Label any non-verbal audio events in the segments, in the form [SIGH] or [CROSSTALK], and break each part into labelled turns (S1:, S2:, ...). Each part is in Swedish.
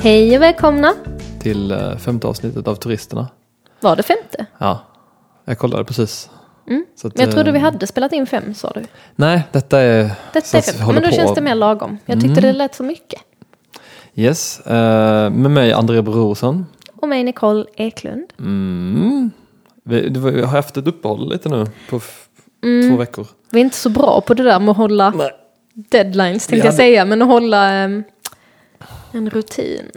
S1: Hej och välkomna!
S2: till eh, femte avsnittet av Turisterna.
S1: Var det femte?
S2: Ja, jag kollade precis.
S1: Mm.
S2: Så att,
S1: Men jag trodde
S2: eh,
S1: vi hade spelat in fem sa du.
S2: Nej, detta är... så
S1: Detta är
S2: att vi
S1: fem,
S2: håller
S1: men då
S2: på. Mm.
S1: känns det mer lagom. Jag tyckte det lät för mycket.
S2: Yes, eh, med mig André Brorsson.
S1: Och mig Nicole Eklund.
S2: Mm. Vi, det var, vi har haft ett uppehåll lite nu på f-
S1: Mm.
S2: två veckor.
S1: Vi är inte så bra på det där med att hålla
S2: Nej.
S1: deadlines tänkte
S2: Vi
S1: jag
S2: hade-
S1: säga, men att hålla ehm, en rutin.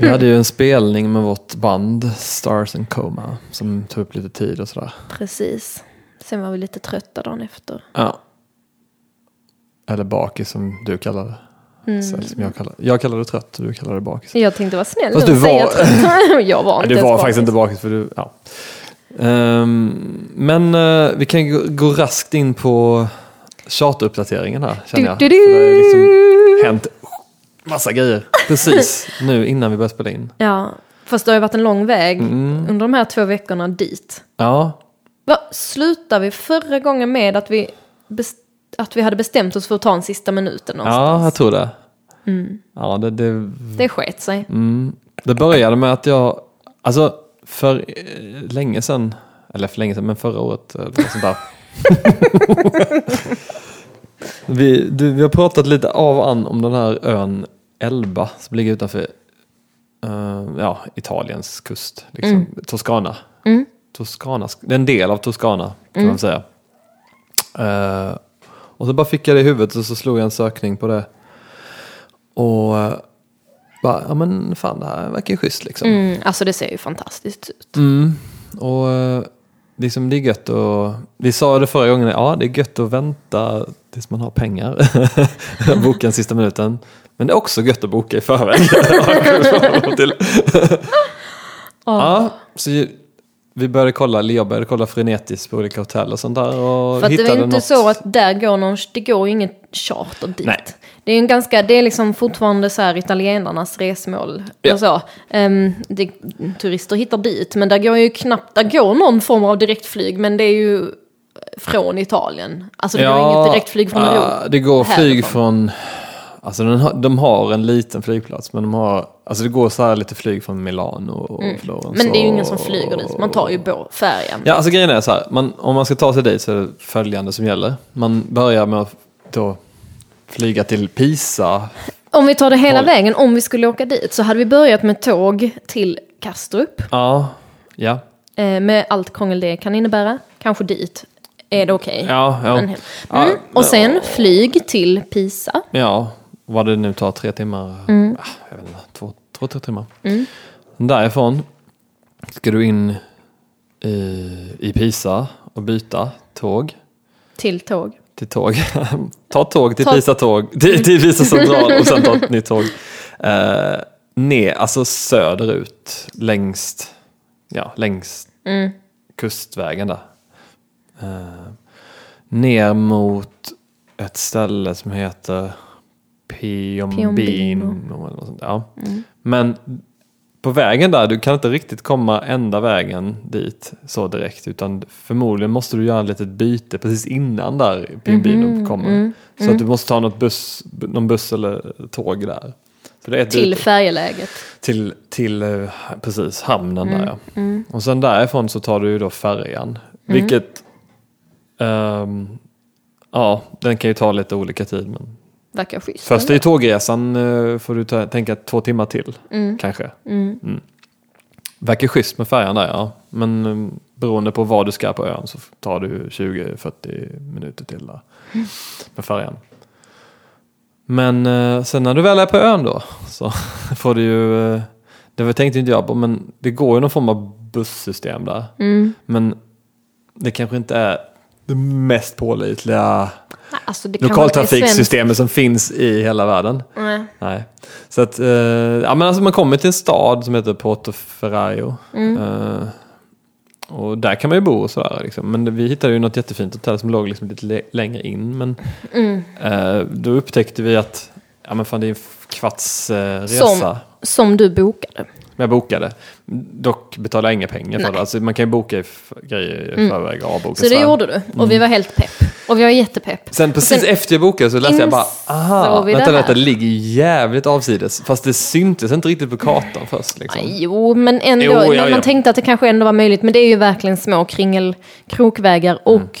S2: Vi hade ju en spelning med vårt band Stars and Coma som tog upp lite tid och sådär.
S1: Precis. Sen var vi lite trötta dagen efter.
S2: Ja. Eller bakis som du kallar det. Så- Som jag, kallar, jag kallar det trött och du kallar det bakis.
S1: Mm. Jag tänkte vara snäll
S2: Fast
S1: nu
S2: du
S1: och säga
S2: var-
S1: trött. [LAUGHS] jag var
S2: Nej,
S1: inte
S2: du
S1: ens
S2: var
S1: bakis.
S2: faktiskt inte bakis. För du, ja. Ehm, men eh, vi kan gå, gå raskt in på charteruppdateringen här känner jag.
S1: Du, du,
S2: För det har
S1: du.
S2: liksom hänt massa grejer
S1: [LAUGHS]
S2: precis nu innan vi börjar spela in.
S1: Ja, fast det har ju varit en lång väg
S2: Mm.
S1: under de här två veckorna dit.
S2: Ja,
S1: Va, slutar vi förra gången med att vi, bes- att vi hade bestämt oss för att ta en sista minuten någonstans? Mm.
S2: ja jag tror det. Ja, det, det,
S1: Det sket sig.
S2: mm. det började med att jag, alltså för eh, länge sedan, eller för länge sedan, men förra året eller något sånt där. [LAUGHS] Vi, du, vi har pratat lite av och an om den här ön Elba som ligger utanför eh, ja, Italiens kust. Liksom. Toscana.
S1: Mm.
S2: Toscana. Det är en del av Toscana kan man säga. Eh, och så bara fick jag det i huvudet och så slog jag en sökning på det. Och eh, bara, ja men fan det här verkar ju schysst liksom.
S1: Mm, alltså det ser ju fantastiskt ut.
S2: Mm. Och eh, liksom det är gött att... Vi sa det förra gången, ja det är gött att vänta tills man har pengar. [LAUGHS] Boka den sista minuten. Men det är också gött att boka i förväg. [LAUGHS] Har jag kommit
S1: [LAUGHS]
S2: fram till. ja, så ju- vi började kolla, eller jag började kolla frenetiskt på olika hotell och sånt där. Och
S1: För att det
S2: hittade
S1: är inte
S2: något.
S1: så att där går någon, det går ju inget charter dit.
S2: Nej.
S1: Det är ju en ganska, det är liksom fortfarande så här italienarnas resmål.
S2: Ja.
S1: Och så. Ehm, det, turister hittar dit, men där går ju knappt, där går någon form av direktflyg, men det är ju från Italien. Alltså det går inget direktflyg från
S2: ja,
S1: Europa.
S2: Det går
S1: härifrån.
S2: flyg från... Alltså den har, de har en liten flygplats men de har... Alltså det går så här lite flyg från Milano och Florens.
S1: Mm. Men det är ju ingen som
S2: och-
S1: flyger dit, man tar ju bå- färjan.
S2: Ja, alltså grejen är så här. Man, om man ska ta sig dit så är det följande som gäller. Man börjar med att då flyga till Pisa.
S1: Om vi tar det hela
S2: Håll.
S1: vägen, om vi skulle åka dit, så hade vi börjat med tåg till Kastrup,
S2: Ja, ja,
S1: eh, med allt krångel det kan innebära. Kanske dit, är det okej?
S2: ja,
S1: Men
S2: ja,
S1: hem. Mm. Och sen flyg till Pisa.
S2: ja. Vad det nu tar, tre timmar? Ah, jag vet inte, två, två, tre timmar. Därifrån ska du in i, i Pisa och byta tåg.
S1: Till tåg.
S2: till tåg. [LAUGHS] ta tåg till
S1: Ta-
S2: Pisa tåg, till, till Pisa central och sen ta ett nytt tåg. Uh, ner, alltså söderut längs, ja, längs kustvägen där. Eh, ner mot ett ställe som heter Piombino.
S1: Piombino.
S2: eller något sånt. Ja. Men på vägen där, du kan inte riktigt komma enda vägen dit så direkt utan förmodligen måste du göra ett litet byte precis innan där Piombino kommer. så att du måste ta något buss, någon buss eller tåg där. Så det är ett
S1: Till
S2: byte.
S1: färjeläget.
S2: till, till eh, precis hamnen där ja. Och sen därifrån så tar du ju då färjan. Vilket, ehm, ja den kan ju ta lite olika tid men
S1: Verkar schysst.
S2: Först i tågresan eh, får du ta, tänka två timmar till kanske. Mm. Verkar schysst med färjan där ja. Men eh, beroende på var du ska på ön så tar du 20-40 minuter
S1: [LAUGHS]
S2: till där med färjan. Men eh, sen när du väl är på ön då så [LAUGHS] får du ju, eh, det var- tänkte inte jag på, men det går ju någon form av bussystem där.
S1: Mm.
S2: Men det kanske inte är det mest pålitliga
S1: Nej, Alltså, det kan vara inte svenskt.
S2: lokaltrafiksystemet som finns i hela världen.
S1: Nej.
S2: Nej. Så att, eh, ja, men alltså man kommer till en stad som heter Porto Ferraio.
S1: Mm.
S2: Eh, och där kan man ju bo och sådär. Liksom. Men det- vi hittade ju något jättefint hotell som låg liksom lite le- längre in. Men
S1: Mm.
S2: eh, då upptäckte vi att ja, men fan, det är en kvarts eh, resa.
S1: Som, som du bokade.
S2: Men jag bokade. Dock betalade jag inga pengar för det. Alltså, man kan ju boka i f- grejer i förväg och avboka.
S1: Mm. Så det
S2: sen.
S1: gjorde du. Och vi var helt pepp. Och vi var jättepepp.
S2: Sen precis
S1: sen-
S2: efter jag bokade så läste jag bara, aha,
S1: insåg vi
S2: vänta,
S1: det här."
S2: vänta, det ligger jävligt avsides. Fast det syntes inte riktigt på kartan först. Liksom.
S1: Nej, Jo, men ändå.
S2: Jo, ja,
S1: man
S2: ja.
S1: tänkte att det kanske ändå var möjligt. Men det är ju verkligen små kringelkrokvägar.
S2: Mm.
S1: Och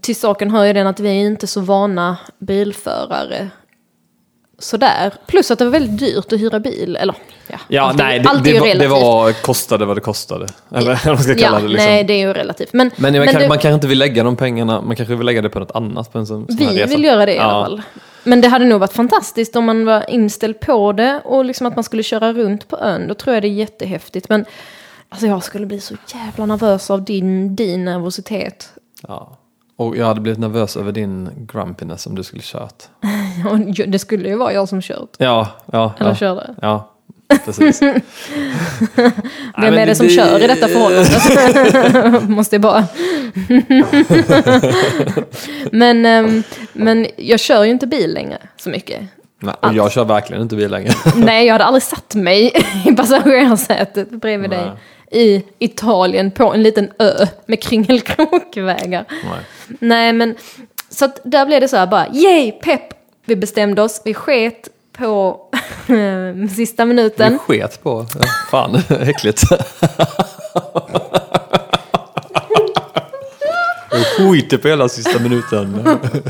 S1: till saken hör ju den att vi är inte så vana bilförare. Sådär. Plus att det var väldigt dyrt att hyra bil. Eller, ja,
S2: Ja,
S1: allt är-
S2: nej, det,
S1: allt är
S2: det,
S1: ju
S2: var, det
S1: relativt.
S2: var kostade vad det kostade. Eller vad man ska
S1: ja,
S2: kalla det. Liksom.
S1: Nej, det är ju relativt. Men,
S2: Men, man,
S1: men
S2: kan,
S1: det-
S2: man kanske inte vill lägga de pengarna, man kanske vill lägga det på något annat. På en sån, sån här
S1: Vi
S2: resa.
S1: vill göra det i
S2: Ja.
S1: alla fall. Men det hade nog varit fantastiskt om man var inställd på det och liksom att man skulle köra runt på ön. Då tror jag det är jättehäftigt. Men alltså jag skulle bli så jävla nervös av din, din nervositet. [LAUGHS]
S2: Ja. Och jag hade blivit nervös över din grumpiness om du skulle kört.
S1: Ja, det skulle ju vara jag som kört.
S2: Ja, ja.
S1: Eller
S2: ja.
S1: körde.
S2: Ja,
S1: [LAUGHS]
S2: precis. Vem
S1: Vem är det som kör i detta förhållandet? [LAUGHS]
S2: [LAUGHS]
S1: Måste jag bara... men, ehm, men jag kör ju inte bil längre så mycket.
S2: Nej, och jag kör verkligen inte bil längre.
S1: [LAUGHS] Nej, jag hade aldrig satt mig [LAUGHS] i passagerarsätet bredvid dig. I Italien på en liten ö med kringelkrokvägar.
S2: Nej.
S1: Nej, men så att där blev det så här bara, yay, pepp! Vi bestämde oss, vi sket på [LAUGHS] sista
S2: Du
S1: minuten.
S2: sket på. Fan, [LAUGHS] äckligt. Jag skiter på hela sista minuten. [LAUGHS]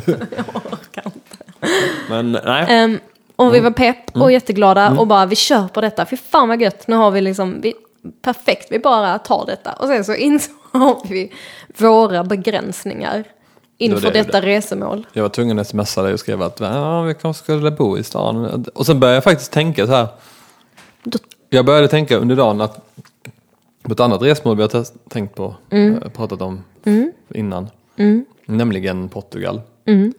S2: Jag orkar inte. Men nej.
S1: Ehm, och
S2: Mm.
S1: vi var pepp och jätteglada och bara, vi kör på detta, fy fan vad gött, nu har vi liksom, vi, perfekt, vi bara tar detta. Och sen så [LAUGHS] insåg vi våra begränsningar inför
S2: det vi
S1: detta resemål.
S2: Jag var tvungen att smsa dig och skrev att "Ja, vi kanske skulle bo i stan. Och sen började jag faktiskt tänka så här.
S1: Då-
S2: Jag började tänka under dagen att på ett annat resmål vi har test- tänkt på,
S1: Mm.
S2: eh, pratat om innan. Nämligen Portugal.
S1: Mm.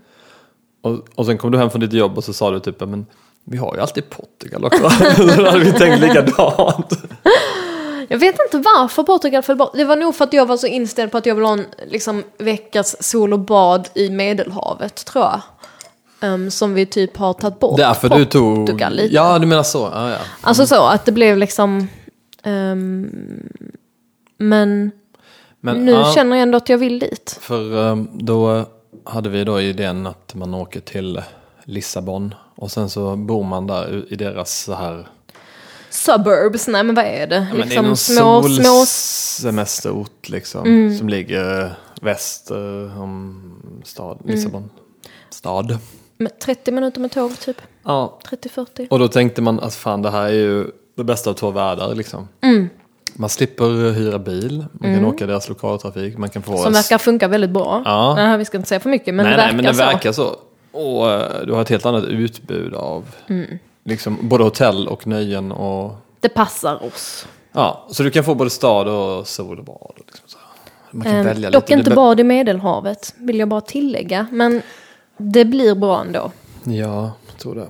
S2: Och, och sen kom du hem från ditt jobb och så sa du typ, men vi har ju alltid Portugal också. [LAUGHS] så då hade vi
S1: [LAUGHS]
S2: tänkt likadant.
S1: Jag vet inte varför Portugal föll bort. Det var nog för att jag var så inställd på att jag ville ha en liksom, veckas sol och bad i Medelhavet, tror jag. Ehm, som vi typ har tagit bort.
S2: Därför du tog...
S1: Portugal lite.
S2: Ja, du menar så. Ja, ja.
S1: Alltså så, att det blev liksom... ehm, men
S2: Men,
S1: nu
S2: ja.
S1: känner jag ändå att jag vill dit.
S2: För eh, då hade vi då idén att man åker till Lissabon och sen så bor man där u- i deras så här...
S1: Suburbs, nej men vad är det? Liksom
S2: men det är någon solsemesterort liksom som ligger eh, väst eh, om stad, Lissabon. Stad.
S1: med 30 minuter med tåg typ,
S2: Ja.
S1: 30-40.
S2: Och då tänkte man att fan det här är ju det bästa av två världar liksom. Man slipper hyra bil, man kan åka deras lokaltrafik, man kan få...
S1: Som verkar funka väldigt bra.
S2: Ja.
S1: Nej, vi ska inte säga för mycket, men
S2: nej,
S1: det verkar
S2: nej, men det
S1: så.
S2: verkar så. Och eh, du har ett helt annat utbud av
S1: Mm.
S2: liksom, både hotell och nöjen. Och,
S1: Det passar oss.
S2: ja, så du kan få både stad och sol och bad. och Liksom, så. Man kan
S1: Ehm,
S2: välja
S1: dock
S2: lite.
S1: inte
S2: Du be-
S1: bad i Medelhavet, vill jag bara tillägga. Men det blir bra ändå.
S2: Ja, jag tror det.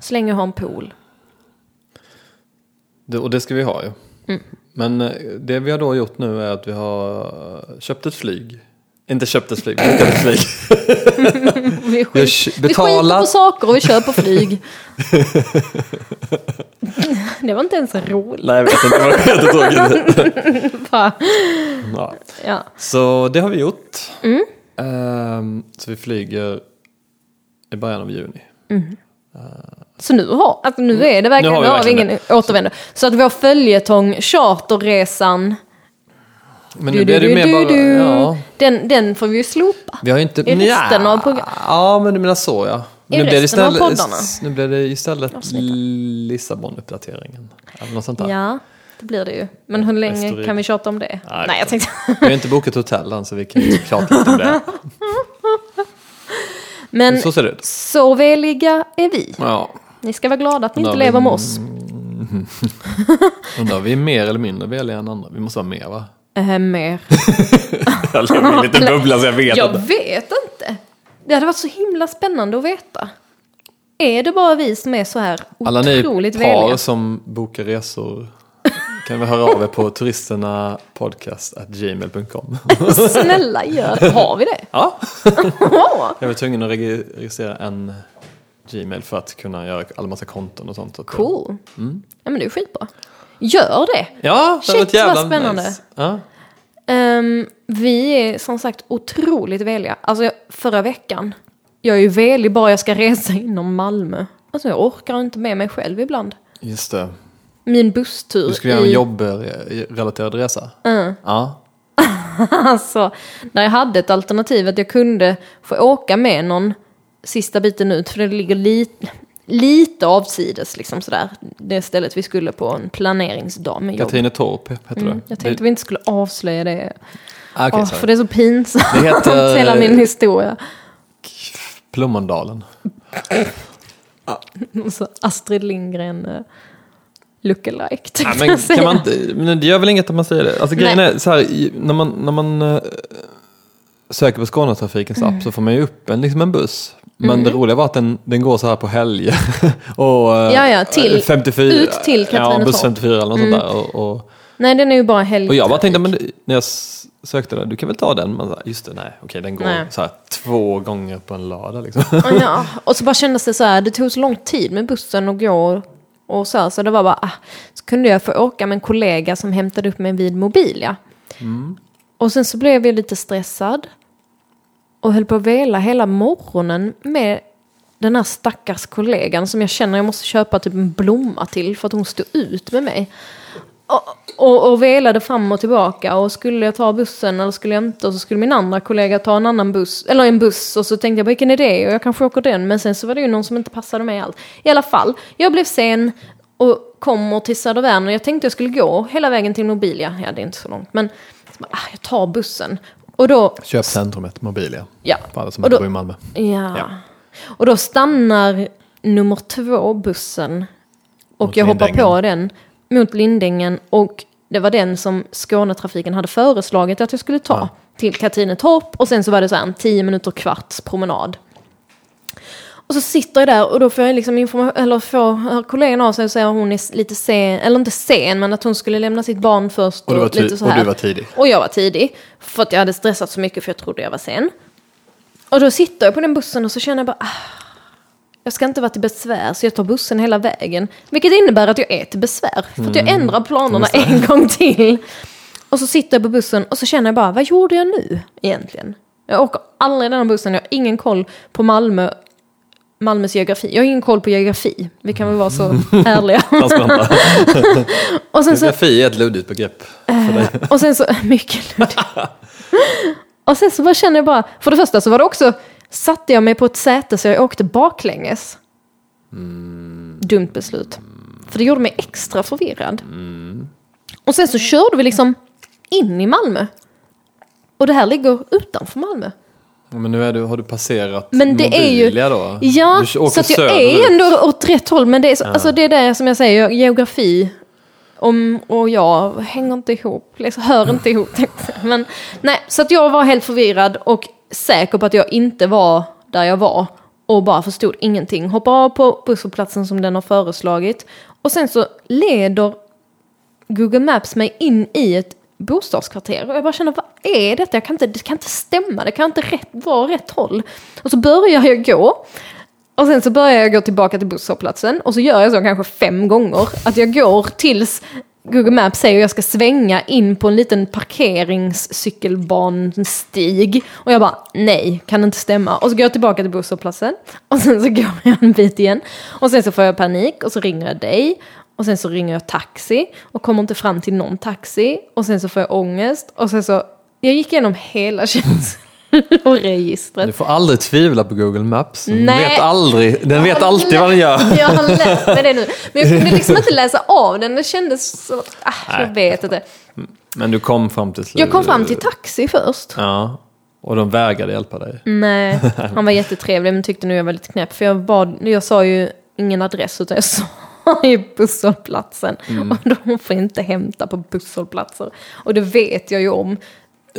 S1: Så länge jag har en pool.
S2: det. Och det ska vi ha ju.
S1: Mm.
S2: Men eh, det vi har då gjort nu är att vi har eh, köpt ett flyg. Inte köpt ett flyg, men köpt ett
S1: [LAUGHS]
S2: flyg.
S1: Vi, skit,
S2: Vi har sh-
S1: vi skiter på
S2: betalat.
S1: saker och vi kör på
S2: [LAUGHS]
S1: flyg. det var inte ens roligt.
S2: Nej, jag vet inte vad jag heter
S1: [LAUGHS]
S2: tåget.
S1: va?
S2: Ja.
S1: Ja.
S2: Så det har vi gjort.
S1: Mm.
S2: Ehm, så vi flyger i början av juni.
S1: Så nu har, alltså nu är det verkligen,
S2: Nu har vi
S1: nu har vi
S2: verkligen
S1: ingen återvändo. Så att vår följetong, charterresan,
S2: Men
S1: du,
S2: nu
S1: du,
S2: blir det ju
S1: du,
S2: mer
S1: du,
S2: bara...
S1: du,
S2: Ja,
S1: den, den får vi ju slopa.
S2: vi har ju inte...
S1: I resten
S2: Nja.
S1: av program-
S2: Ja, men du menar så ja.
S1: I
S2: Men nu blir det
S1: resten av
S2: istället,
S1: poddarna.
S2: s- Nu blir det istället
S1: Avsnitten.
S2: Lissabon-uppdateringen. Eller något sånt där.
S1: Ja, det blir det ju. Men hur länge
S2: Västerrike.
S1: kan vi tjata om det?
S2: Nej,
S1: Nej jag
S2: det-
S1: tänkte...
S2: Vi har inte bokat hotell än så vi kan ju klart inte
S1: [LAUGHS]
S2: om det.
S1: Men
S2: Men så ser det ut.
S1: Så veliga är vi.
S2: Ja.
S1: Ni ska vara glada att ni
S2: Undrar
S1: inte
S2: vi-
S1: lever med oss.
S2: Undrar vi är mer eller mindre veliga än andra. Vi måste vara mer va?
S1: Äh, mer.
S2: [LAUGHS] Jag lever i
S1: [LAUGHS]
S2: en liten bubbla så jag vet
S1: Jag
S2: inte.
S1: vet inte. Det hade varit så himla spännande att veta. Är det bara vi som är så här
S2: Alla ni
S1: otroligt
S2: par [LAUGHS]
S1: veliga?
S2: som bokar resor kan vi höra av er på turistornapodcast.gmail.com.
S1: Snälla gör det. Har vi det?
S2: [LAUGHS] Ja.
S1: Åh,
S2: Jag var tvungen att regi- registrera en Gmail för att kunna göra alla massa konton och sånt. Så att-
S1: Cool.
S2: Mm.
S1: Ja men det är skitbra. Gör det.
S2: Ja, det
S1: Shit,
S2: var ett jävla
S1: vad spännande.
S2: Nice. Ja.
S1: Eh, Ehm, vi är som sagt otroligt veliga. Alltså jag, förra veckan, jag är ju velig bara jag ska resa inom Malmö. Alltså jag orkar inte med mig själv ibland.
S2: Just det.
S1: Min busstur
S2: Du skulle göra en
S1: i-
S2: jobbrelaterad resa? Ja.
S1: [LAUGHS] Alltså, när jag hade ett alternativ att jag kunde få åka med någon sista biten ut, för det ligger lite, lite avsides liksom sådär. Det stället vi skulle på en planeringsdag med jobb.
S2: Katrinetorp heter det.
S1: Mm, jag tänkte vi inte skulle avslöja det.
S2: Ah, okej,
S1: Åh,
S2: sorry.
S1: för det är så pinsamt,
S2: Det eh, heter-
S1: [LAUGHS] hela min historia.
S2: Plommondalen.
S1: Och så Astrid Lindgren eh, lookalike, tänkte [LAUGHS]
S2: Nej, men,
S1: jag säga.
S2: kan man inte, men det gör väl inget att man säger det. Alltså, grejen
S1: Nej.
S2: är så här, i- när man, när man eh, söker på Skånetrafikens
S1: Mm.
S2: app så får man ju upp en, liksom en buss. Men det roliga var att den, den går så här på helger. [LAUGHS] och, eh,
S1: Ja, ja, till-
S2: 54,
S1: ut till Mm.
S2: Ja,
S1: Katrinetorp.
S2: buss 54 eller något sånt där. Och, och,
S1: Nej, den är ju bara helg.
S2: och jag bara tänkte, men det, när jag s- sökte där, du kan väl ta den? Men så här, just det, nej, okej, den går
S1: Nej.
S2: så här två gånger på en lördag liksom.
S1: Ja, och så bara kändes det så här, det tog så lång tid med bussen att gå och så här, så det var bara, ah, så kunde jag få åka med en kollega som hämtade upp mig vid Mobilia. Och sen så blev jag lite stressad och höll på att vela hela morgonen med den här stackars kollegan som jag känner jag måste köpa typ en blomma till för att hon stod ut med mig. Och, och, och velade fram och tillbaka och skulle jag ta bussen eller skulle jag inte och så skulle min andra kollega ta en annan buss, eller en buss och så tänkte jag vilken är det och jag kanske åker den men sen så var det ju någon som inte passade mig alls. I alla fall, jag blev sen och kommer till Södervärn och jag tänkte jag skulle gå hela vägen till Mobilia, ja det är inte så långt men så bara, ah, jag tar bussen. Och då
S2: Köpcentrumet Mobilia.
S1: Ja.
S2: För alla som
S1: Och
S2: inte
S1: då-
S2: bor
S1: [LAUGHS]
S2: i Malmö.
S1: Ja.
S2: Ja.
S1: Och då stannar nummer två bussen och
S2: Mot
S1: jag hoppar
S2: Lindängen.
S1: på den mot Lindängen och det var den som Skånetrafiken hade föreslagit att jag skulle ta
S2: Ja.
S1: till Katrinetorp och sen så var det så här en 10 minuter kvarts promenad. Och så sitter jag där och då får jag liksom information, eller får hör kollegan av sig och säger att hon är s- lite sen, eller inte sen, men att hon skulle lämna sitt barn först. Och,
S2: du var ti-
S1: lite så
S2: och du
S1: här.
S2: var tidig.
S1: Och jag var tidig, för att jag hade stressat så mycket för jag trodde jag var sen. Och då sitter jag på den bussen och så känner jag bara, ah, jag ska inte vara till besvär så jag tar bussen hela vägen. Vilket innebär att jag är till besvär, för att
S2: Mm,
S1: jag ändrar planerna en gång till. Och så sitter jag på bussen och så känner jag bara, vad gjorde jag nu egentligen? Jag åker aldrig den här bussen, jag har ingen koll på Malmö, Malmös geografi. Jag har ingen koll på geografi, vi kan väl vara så ärliga.
S2: Transparenta.
S1: Och sen [LAUGHS] så
S2: Geografi är ett luddigt begrepp.
S1: och sen så, [LAUGHS] mycket luddigt. Och sen så bara känner jag bara, för det första så var det också, satte jag mig på ett säte så jag åkte baklänges. Dumt beslut. För det gjorde mig extra förvirrad. Och sen så körde vi liksom in i Malmö. Och det här ligger utanför Malmö.
S2: Ja, Men nu är du, har du passerat
S1: Men det är ju-
S2: Mobilia då?
S1: Ja,
S2: Du åker
S1: så att jag
S2: söderut.
S1: är ändå åt rätt håll. Men det är, så, alltså det är där som jag säger, geografi om, och jag hänger inte ihop, liksom, hör inte ihop. tänkte jag. Men, nej, så att jag var helt förvirrad och säker på att jag inte var där jag var. Och bara förstod ingenting. Hoppar av på busshållplatsen som den har föreslagit. Och sen så leder Google Maps mig in i ett bostadskvarter. Och jag bara känner, vad är detta? Jag kan inte, det kan inte stämma, det kan inte rätt, vara rätt håll. Och så börjar jag gå. Och sen så börjar jag gå tillbaka till busshållplatsen. Och så gör jag så kanske fem gånger. Att jag går tills Google Maps säger att jag ska svänga in på en liten parkeringscykelbanstig. Och jag bara, nej, kan inte stämma. Och så går jag tillbaka till busshållplatsen. Och sen så [LAUGHS] går jag en bit igen. Och sen så får jag panik och så ringer jag dig. Och sen så ringer jag taxi och kommer inte fram till någon taxi. Och sen så får jag ångest. Och sen så, jag gick igenom hela [LAUGHS] känsloregistret.
S2: Du får aldrig tvivla på Google Maps. Den
S1: Nej.
S2: vet, aldrig, den vet alltid vad den gör.
S1: [LAUGHS] Jag har lärt mig det nu. Men jag kunde liksom inte läsa av den. Det kändes så... Ah, jag vet inte.
S2: Men du kom fram till slut.
S1: Jag kom fram till taxi först.
S2: Ja, och de vägrade hjälpa dig. [LAUGHS]
S1: Nej, han var jättetrevlig men tyckte nog jag var lite knäpp. För jag, bad, jag sa ju ingen adress utan jag [LAUGHS] sa ju busshållplatsen.
S2: Mm.
S1: Och de får inte hämta på busshållplatser. Och det vet jag ju om.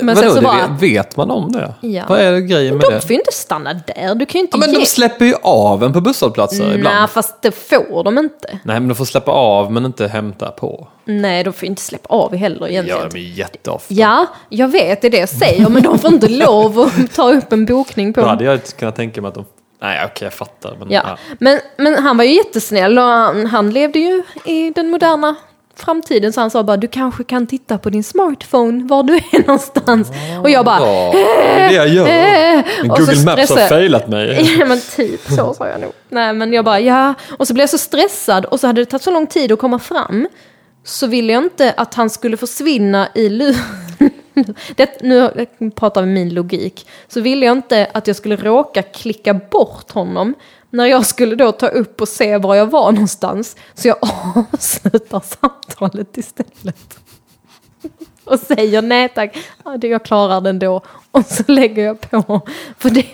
S1: Men
S2: Vadå,
S1: sen så
S2: det
S1: bara...
S2: vet, vet man om det?
S1: Ja.
S2: Vad är det grejen med
S1: De
S2: det?
S1: får ju inte stanna där. Du kan ju inte
S2: Ja, men
S1: ge...
S2: de släpper ju av en på busshållplatser
S1: Nej,
S2: ibland.
S1: fast det får de inte.
S2: Nej, men de får släppa av men inte hämta på.
S1: Nej, de får ju inte släppa av heller egentligen.
S2: Ja, men jätteofta.
S1: Ja, jag vet, det är det jag säger, men de får inte lov att ta upp en bokning på
S2: Då hade jag inte kunnat tänka mig att de... Nej, okej, jag fattar. Men,
S1: Ja. Men, men han var ju jättesnäll och han, han levde ju i den moderna framtiden så han sa bara du kanske kan titta på din smartphone var du är [LAUGHS] någonstans. Och jag bara "Eh."
S2: Ja, det är det jag gör.
S1: [LAUGHS]
S2: Men
S1: och så
S2: Google Maps
S1: stressar
S2: har
S1: jag.
S2: failat
S1: [LAUGHS]
S2: mig.
S1: Ja men typ så sa jag nog. Nej men jag bara ja. Och så blev jag så stressad och så hade det tagit så lång tid att komma fram. Så ville jag inte att han skulle försvinna i luren. Det, nu pratar vi min logik. Så ville jag inte att jag skulle råka klicka bort honom. När jag skulle då ta upp och se var jag var någonstans. Så jag [LAUGHS] avslutar samtalet istället. Och säger nej tack, ja, det- jag klarar den då. Och så lägger jag på. För det [LAUGHS]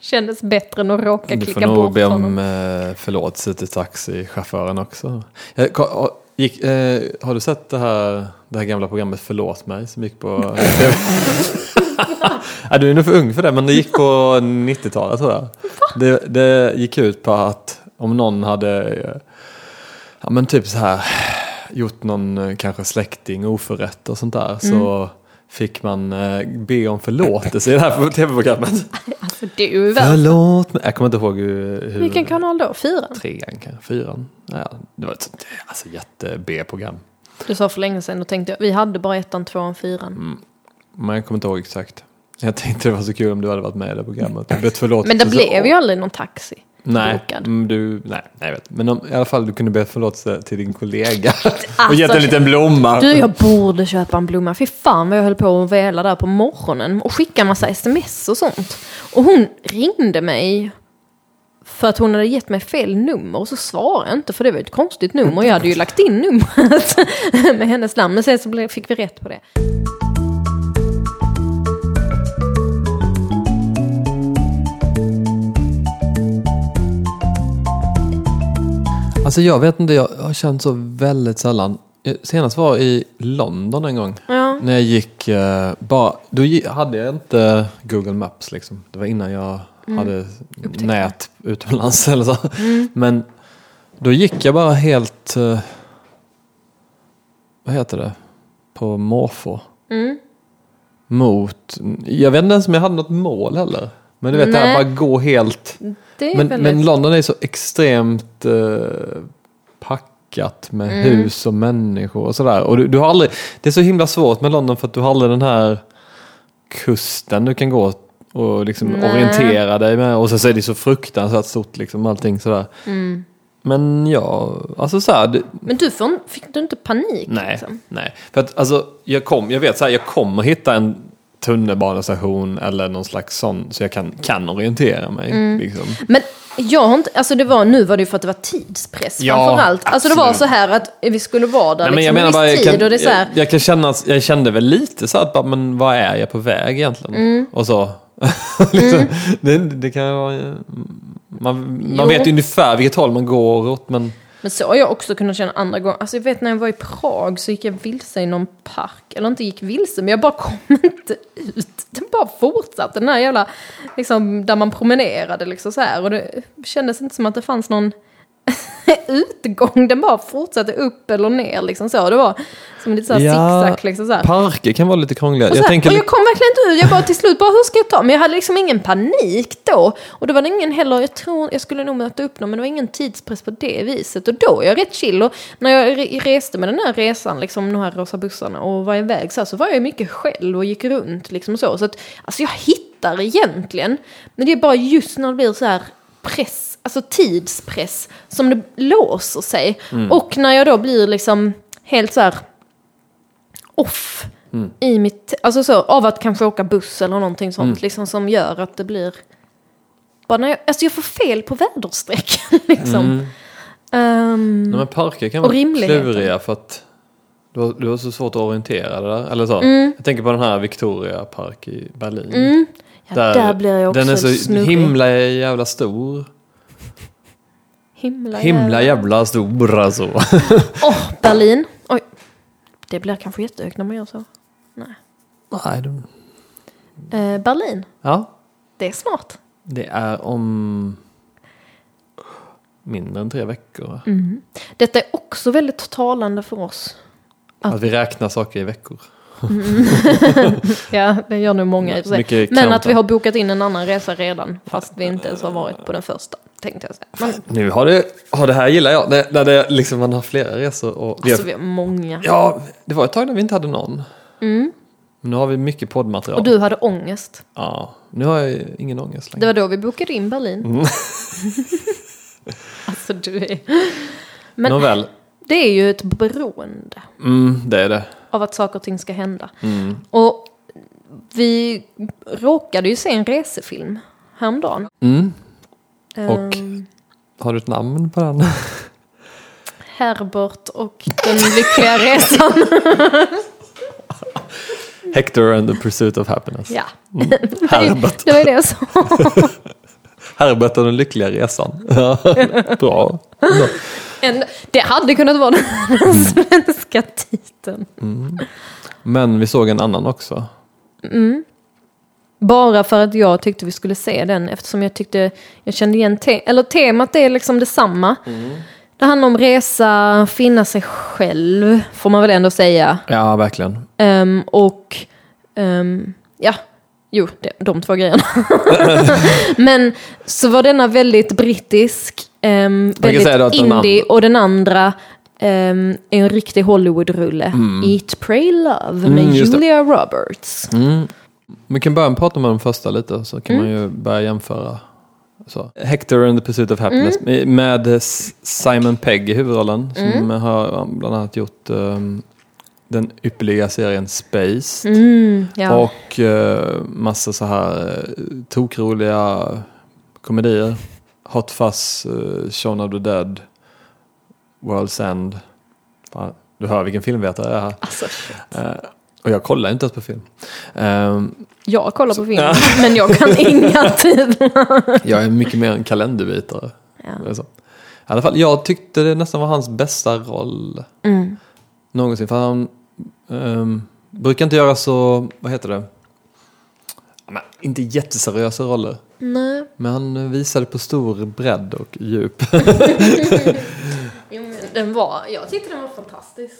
S1: kändes bättre än att råka
S2: Du får
S1: klicka
S2: nog
S1: bort
S2: be
S1: honom.
S2: om eh, förlåtelse till taxichauffören också. Jag, ko- gick, eh, har du sett det här, det här gamla programmet Förlåt mig som
S1: [LAUGHS]
S2: gick på TV? ja, du är nog för ung för det, men det gick på 90-talet tror jag. Det, det gick ut på att om någon hade, eh, ja men typ så här, gjort någon eh, kanske släkting oförrätt och sånt där.
S1: Mm.
S2: Så fick man eh, be om förlåtelse i det här [LAUGHS] tv-programmet.
S1: Alltså du är väl...
S2: Förlåt mig. Jag kommer inte ihåg hur... hur
S1: Vilken kanal då? Fyran?
S2: Trean kanske, fyran. Ja, det var ett sånt, alltså, jätte-B-program.
S1: Du sa för länge sedan och tänkte jag, vi hade bara ettan, tvåan, fyran.
S2: Mm. Men jag kommer inte ihåg exakt. Jag tänkte det var så kul om du hade varit med i det programmet. Jag vet förlåtelse.
S1: Men det
S2: så-
S1: blev ju aldrig någon taxi.
S2: Nej,
S1: bokad.
S2: mm, du, nej, nej, jag vet. Men om, i alla fall du kunde be förlåtelse till din kollega. och
S1: Alltså,
S2: gett en liten blomma.
S1: Du, jag borde köpa en blomma. Fy fan vad jag höll på att väla där på morgonen och skicka en massa sms och sånt. Och hon ringde mig för att hon hade gett mig fel nummer och så svarade jag inte för det var ett konstigt nummer. Jag hade ju lagt in numret [LAUGHS] med hennes namn men sen så blev- fick vi rätt på det.
S2: Alltså jag vet inte, jag har känt så väldigt sällan. Eh, Senast var jag i London en gång.
S1: Ja.
S2: När jag gick, eh, bara, då gi- hade jag inte Google Maps liksom. Det var innan jag
S1: Mm.
S2: hade nät utomlands [LAUGHS] eller så. Men då gick jag bara helt, eh, vad heter det, på måfå.
S1: Mm.
S2: Mot, jag vet inte ens om jag hade något mål heller. Men du vet det här
S1: Nej.
S2: bara gå helt.
S1: Det är
S2: Men,
S1: väldigt...
S2: men London är så extremt eh, packat med
S1: Mm.
S2: hus och människor och sådär. Och du, du har aldrig, det är så himla svårt med London för att du har aldrig den här kusten du kan gå och liksom
S1: Nej.
S2: orientera dig med. Och sen så är det så fruktansvärt stort liksom allting sådär.
S1: Mm.
S2: Men ja, alltså såhär. Det,
S1: men du får, fick du inte panik?
S2: nej,
S1: Liksom?
S2: nej. För att alltså jag, kom, jag vet såhär, jag kommer hitta en tunnelbanestation eller någon slags sån så jag kan, kan orientera mig.
S1: Mm.
S2: Liksom.
S1: Men jag har inte, alltså det var, nu var det ju för att det var tidspress
S2: Ja,
S1: framförallt. Alltså det var
S2: absolut.
S1: så här att vi skulle vara där liksom, en viss tid
S2: jag, kan,
S1: och det är så här,
S2: jag, jag kan känna, jag kände väl lite så att bara, men vad är jag på väg egentligen?
S1: Mm.
S2: Och så. [LAUGHS] liksom, det, det kan ju vara, eh, man,
S1: Jo.
S2: man vet ju ungefär vilket håll man går åt men
S1: Men så har jag också kunnat känna andra gånger. Alltså jag vet när jag var i Prag så gick jag vilse i någon park. Eller inte gick vilse, men jag bara kom [LAUGHS] inte ut. Den bara fortsatte, den här jävla, liksom där man promenerade liksom så här. Och det kändes inte som att det fanns någon [LAUGHS] utgång. Den bara fortsatte upp eller ner liksom så. Det var som lite så här
S2: Ja,
S1: zigzag liksom så här.
S2: parker kan vara lite krångliga.
S1: Och,
S2: Jag
S1: så här,
S2: tänker,
S1: och jag kom verkligen inte ut, jag bara till slut bara hur ska jag ta Men jag hade liksom ingen panik då. Och det var det ingen heller, jag tror jag skulle nog möta upp någon men det var ingen tidspress på det viset. Och då är jag rätt chill och när jag re- reste med den här resan, liksom de här rosa bussarna och var iväg så, här, så var jag mycket själv och gick runt liksom så. Så att alltså jag hittar egentligen, men det är bara just när det blir så här press, alltså tidspress som det låser sig.
S2: Mm.
S1: Och när jag då blir liksom helt så här off i mitt, alltså så, av att kanske åka buss eller någonting sånt
S2: Mm.
S1: liksom som gör att det blir, bara när jag, alltså jag får fel på väderstrecken [LAUGHS] liksom.
S2: Mm.
S1: Ehm,
S2: nej, men parker kan
S1: Och
S2: vara
S1: rimligheten.
S2: kluriga för att du har, du har så svårt att orientera dig där. Eller så.
S1: Mm.
S2: Jag tänker på den här Victoria Park i Berlin.
S1: ja, Mm. där, blir jag också
S2: Mm. den är så
S1: snurrig.
S2: himla jävla stor.
S1: himla,
S2: Himla jävla stor alltså. [LAUGHS]
S1: Åh, Berlin. Oj. Det blir kanske jättehögt när man gör så.
S2: Nej, de-
S1: Eh, Berlin,
S2: ja,
S1: det är snart.
S2: Det är om mindre än tre veckor. va?
S1: Mm. Detta är också väldigt talande för oss.
S2: Att vi räknar saker i veckor.
S1: Ja, det gör nog många i och för sig.
S2: Mycket
S1: Men att
S2: counter.
S1: vi har bokat in en annan resa redan, fast vi inte ens har varit på den första, tänkte jag säga. Men,
S2: Nu har det, ja, det här gillar jag. Det, när det, liksom, man har flera resor. Och vi har-
S1: alltså vi har många.
S2: Ja, det var ett tag när vi inte hade någon. Men Nu har vi mycket poddmaterial.
S1: Mm. Och du hade ångest.
S2: Ja, nu har jag ingen ångest längre.
S1: Det var då vi bokade in Berlin.
S2: Mm.
S1: [LAUGHS] alltså du är... Men
S2: Nåväl,
S1: det är ju ett beroende
S2: mm, det är det. Mm.
S1: av att saker och ting ska hända. Och vi råkade ju se en resefilm häromdagen.
S2: Mm.
S1: Eh,
S2: Och har du ett namn
S1: [LAUGHS]
S2: på den?
S1: Herbert och den lyckliga resan.
S2: [LAUGHS] Hector and the Pursuit of Happiness.
S1: ja,
S2: Herbert.
S1: det var det jag sa.
S2: Herbert och den lyckliga resan. [LAUGHS] Bra.
S1: En, det hade kunnat vara den
S2: Mm.
S1: svenska titeln.
S2: Men vi såg en annan också.
S1: Mm. Bara för att jag tyckte vi skulle se den eftersom jag tyckte jag kände igen te- eller temat är liksom detsamma.
S2: Mm.
S1: Det handlar om resa, finna sig själv får man väl ändå säga.
S2: Ja, verkligen.
S1: Ehm, och ehm, ja, jo, de, de två grejerna.
S2: [LAUGHS]
S1: Men så var denna väldigt brittisk, ehm,
S2: säga då att
S1: väldigt
S2: den
S1: indie och den andra ehm, är en riktig Hollywood-rulle. Eat, Pray, Love med
S2: Mm, just det.
S1: Julia Roberts.
S2: Mm. Vi kan börja prata om de första lite så kan man ju
S1: Mm.
S2: börja jämföra. Så. Hector and the Pursuit of Happiness
S1: Mm.
S2: med S- Simon Pegg i huvudrollen som
S1: Mm.
S2: har bland annat gjort ehm, den ypperliga serien Space
S1: Mm, ja.
S2: och eh, massa så här eh, tokroliga komedier. Hot Fuzz, eh, Shaun of the Dead, World's End. Fan, du hör vilken filmvetare jag är här.
S1: Alltså,
S2: Eh, och jag kollar inte ens på film. Ehm,
S1: jag kollar på film, [LAUGHS] men jag
S2: [LAUGHS]
S1: kan inga titlar.
S2: Jag är mycket mer en kalenderbitare.
S1: Ja.
S2: Det är så. I alla fall, jag tyckte det nästan var hans bästa roll
S1: Mm.
S2: någonsin. För han ehm, brukar inte göra så, vad heter det? Ja, men inte jätteseriösa roller.
S1: Nej,
S2: Men han visade på stor bredd och djup.
S1: Jo, men den var, jag tyckte den var fantastisk.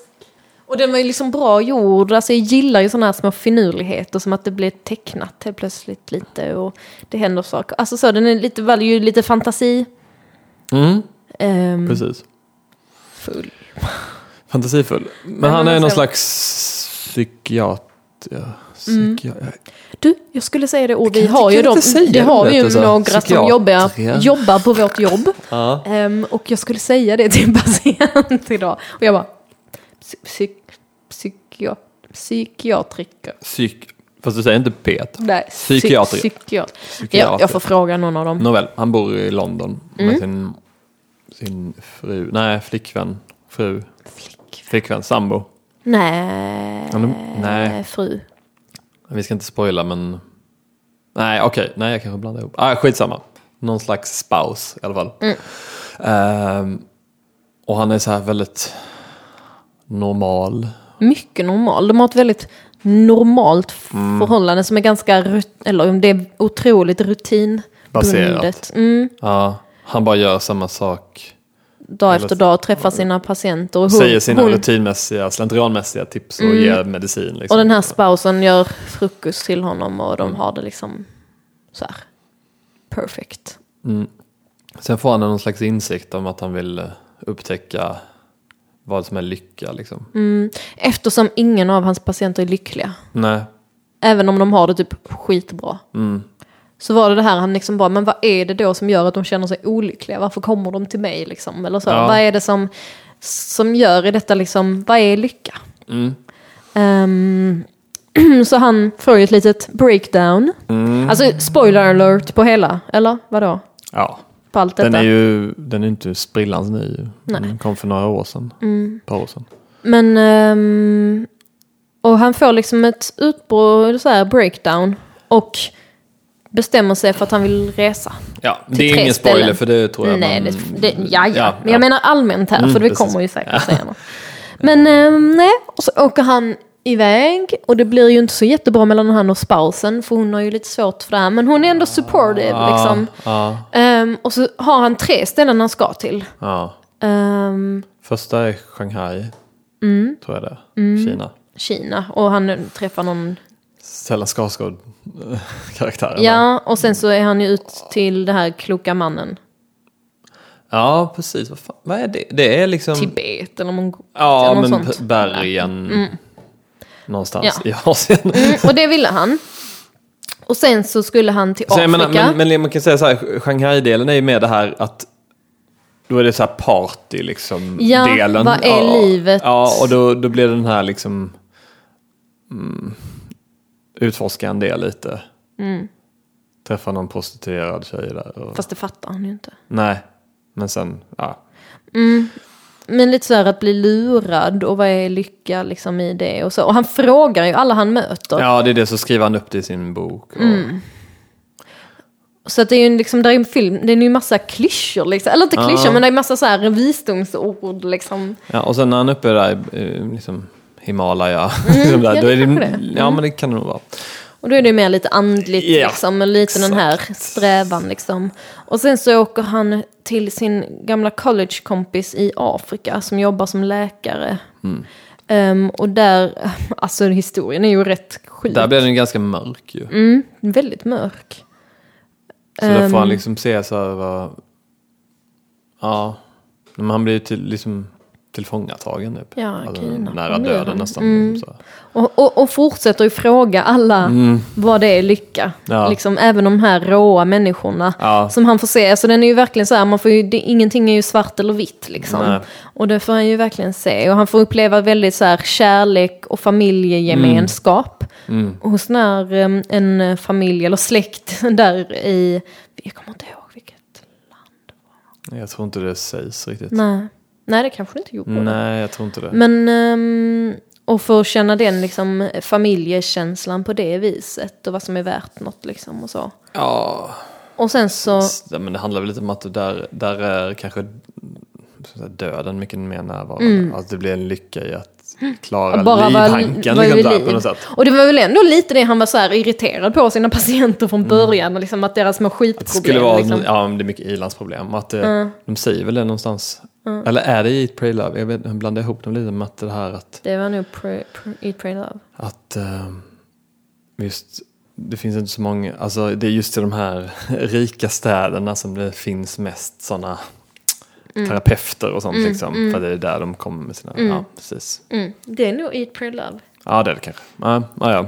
S1: Och den var ju liksom bra gjord, alltså jag gillar ju sådana här små finurligheter som att det blir tecknat helt plötsligt lite och det händer saker. Alltså så, den är lite, var ju lite fantasi.
S2: Mm,
S1: ehm,
S2: precis.
S1: full.
S2: Fantasifull. Men
S1: men
S2: han är
S1: alltså-
S2: någon slags psykiater. Psykiater.
S1: Du, jag skulle säga det och vi
S2: Jag
S1: har ju
S2: kan
S1: dem,
S2: inte säga
S1: det har
S2: det,
S1: vi ju
S2: alltså.
S1: några som
S2: Psykiatrer.
S1: jobbar, jobbar på vårt jobb.
S2: Ja.
S1: Ehm, och jag skulle säga det till en [LAUGHS] patient idag. Och jag bara, psy, psy, psykia- psykiatriker.
S2: Psyk... Fast du säger inte pet.
S1: Nej, psy-
S2: Psykiater.
S1: psykiater.
S2: Psykiater.
S1: Ja, jag får Mm. fråga någon av dem.
S2: Nåväl, han bor i London med sin, sin fru, nej flickvän, fru,
S1: Flick.
S2: flickvän, sambo.
S1: Nej.
S2: Ja, men- nej.
S1: Fru.
S2: Vi ska inte spoila men... Nej okej, nej jag kanske blandar ihop. Ah, skitsamma. Någon slags spouse i alla fall.
S1: Mm.
S2: Ehm, och han är så här väldigt normal.
S1: Mycket normal. De har ett väldigt normalt f-
S2: Mm.
S1: förhållande som är ganska, rut- eller om det är otroligt rutinbundet.
S2: Baserat.
S1: Mm,
S2: Ja, han bara gör samma sak.
S1: dag
S2: Eller-
S1: efter dag, träffar sina patienter. Och, hon,
S2: Säger sina
S1: hon,
S2: rutinmässiga, slentrianmässiga tips och ger medicin. Liksom.
S1: Mm. och den här spousen gör frukost till honom och
S2: Mm.
S1: de har det liksom så här. Perfect.
S2: Sen får han någon slags insikt om att han vill eh, upptäcka vad som är lycka. Liksom.
S1: Mm. Eftersom ingen av hans patienter är lyckliga.
S2: Nej. Mm.
S1: Även om de har det typ skitbra. Så var det det här, han liksom bara, men vad är det då som gör att de känner sig olyckliga? Varför kommer de till mig liksom? Eller så.
S2: Ja.
S1: Vad är det som, som gör i detta liksom, vad är lycka?
S2: Mm.
S1: Ehm, [CLEARS THROAT] så han får ju ett litet breakdown.
S2: Mm.
S1: Alltså spoiler alert på hela, eller vadå?
S2: Ja.
S1: På allt detta.
S2: Den är ju den är inte sprillans ny.
S1: Nej. Mm.
S2: Den kom för några år sedan. Ett par år sedan.
S1: Men, ehm, och han får liksom ett utbrott, så här breakdown. Och bestämmer sig för att han vill resa.
S2: Ja, det
S1: Till
S2: är
S1: tre
S2: ingen spoiler
S1: ställen.
S2: för det tror jag
S1: Nej,
S2: man...
S1: det, det, ja, ja. Men
S2: ja.
S1: jag menar allmänt här,
S2: Mm,
S1: för vi
S2: precis.
S1: kommer ju säkert säga något. Men eh, nej, och så åker han iväg och det blir ju inte så jättebra mellan han och spousen för hon har ju lite svårt för det här. Men hon är
S2: Ah.
S1: ändå supportive liksom.
S2: Ja,
S1: Ehm, och så har han tre ställen han ska till.
S2: ja.
S1: Ehm, Mm.
S2: Första är Shanghai. Tror jag det är. Kina.
S1: Kina och han träffar någon
S2: Stellan [LAUGHS] Skarsgård-karaktären.
S1: Ja, och sen så är han ju ut till det här kloka mannen.
S2: ja, precis. Vad, fan, vad är det? Det är liksom...
S1: Tibet eller Mongoliet
S2: ja,
S1: eller något sånt.
S2: men
S1: Mm.
S2: p- [LAUGHS] bergen. Någonstans
S1: Ja.
S2: i
S1: [LAUGHS]
S2: Asien.
S1: Mm, och det ville han. Och sen så skulle han till
S2: Så
S1: Afrika.
S2: jag menar, men, men man kan säga så här, Shanghai-delen är ju mer det här att då är det så här party liksom
S1: Ja,
S2: delen.
S1: vad är
S2: ja,
S1: livet?
S2: Ja, och då, då blir det den här liksom mm, utforska en del lite.
S1: Mm.
S2: Träffa någon prostituerad tjej där. Och,
S1: Fast det fattar han ju inte.
S2: nej, men sen, ja.
S1: Men lite så här att bli lurad och vad är lycka liksom i det och så. Och han frågar ju alla han möter.
S2: Ja, det är det, så skriver han upp det i sin bok. Och,
S1: Så att det är ju en liksom, där är en film, det är ju massa klyschor liksom. Eller inte klyschor,
S2: Ja.
S1: men det är massa så här visdomsord liksom.
S2: Ja, och sen när han är uppe där i eh, liksom Himalaya, [LAUGHS] liksom
S1: Mm, ja,
S2: där, då
S1: det
S2: är det,
S1: kanske det. Mm.
S2: ja men det kan det nog vara.
S1: Och då är det mer lite andligt
S2: Ja,
S1: liksom, och lite den här strävan liksom. Och sen så åker han till sin gamla collegekompis i Afrika som jobbar som läkare.
S2: Mm.
S1: Ehm, och där, alltså historien är ju rätt sjuk.
S2: Där blir den ju ganska mörk ju.
S1: Mm, väldigt mörk.
S2: Så där
S1: Ehm.
S2: får han liksom se så här vad... Ja. Men han blir ju till, liksom tillfångatagen typ.
S1: Ja, kidnappad
S2: nära
S1: blir
S2: döden
S1: han. Mm.
S2: nästan. Liksom, så.
S1: Och, och, och fortsätter ju fråga alla vad det är lycka.
S2: Mm. Ja.
S1: Liksom, även de här råa människorna
S2: Ja.
S1: som han får se. Alltså, den är ju verkligen så här, man får ju, det, ingenting är ju svart eller vitt. Liksom.
S2: Nej.
S1: Och det får han ju verkligen se. Och han får uppleva väldigt så här, kärlek och familjegemenskap.
S2: Mm.
S1: Hos när em, en eh, familj eller släkt [LAUGHS] där i, jag kommer inte ihåg vilket.
S2: Jag tror inte det sägs riktigt. Nej,
S1: Nej, Nej det kanske det inte gjorde.
S2: jag tror inte det.
S1: Men, ehm, och för att känna den liksom, familjekänslan på det viset och vad som är värt något liksom och så.
S2: Ja.
S1: Och sen så,
S2: s- Men det handlar väl lite om att det där, där är kanske så att säga, döden mycket mer närvarande. Att det blir en lycka
S1: [GASPS]
S2: i att klara
S1: Mm. bara vara-
S2: livhanken.
S1: vara
S2: liksom,
S1: vid
S2: där,
S1: liv.
S2: på något sätt.
S1: och det var väl ändå lite det han var så här irriterad på sina [LAUGHS] patienter från början, och liksom att deras små
S2: Mm. Det
S1: skitproblem.
S2: skulle vara,
S1: liksom.
S2: ja men det är mycket i-landsproblem. Att det, De säger väl det någonstans. Eller är det i Pray Love? Jag vet, jag blandar ihop dem lite med att det här att,
S1: Det var nog pre, pre, Eat, Pray, Love.
S2: att eh, just det finns inte så många, alltså det är just i de här [LAUGHS] rika städerna som det finns mest sådana
S1: Mm.
S2: terapeuter och sånt liksom. För det är där de kommer med sina, ja precis.
S1: Mm. Det är nog Eat, Pray, Love.
S2: Ja det är det kanske. Ja, ja, ja.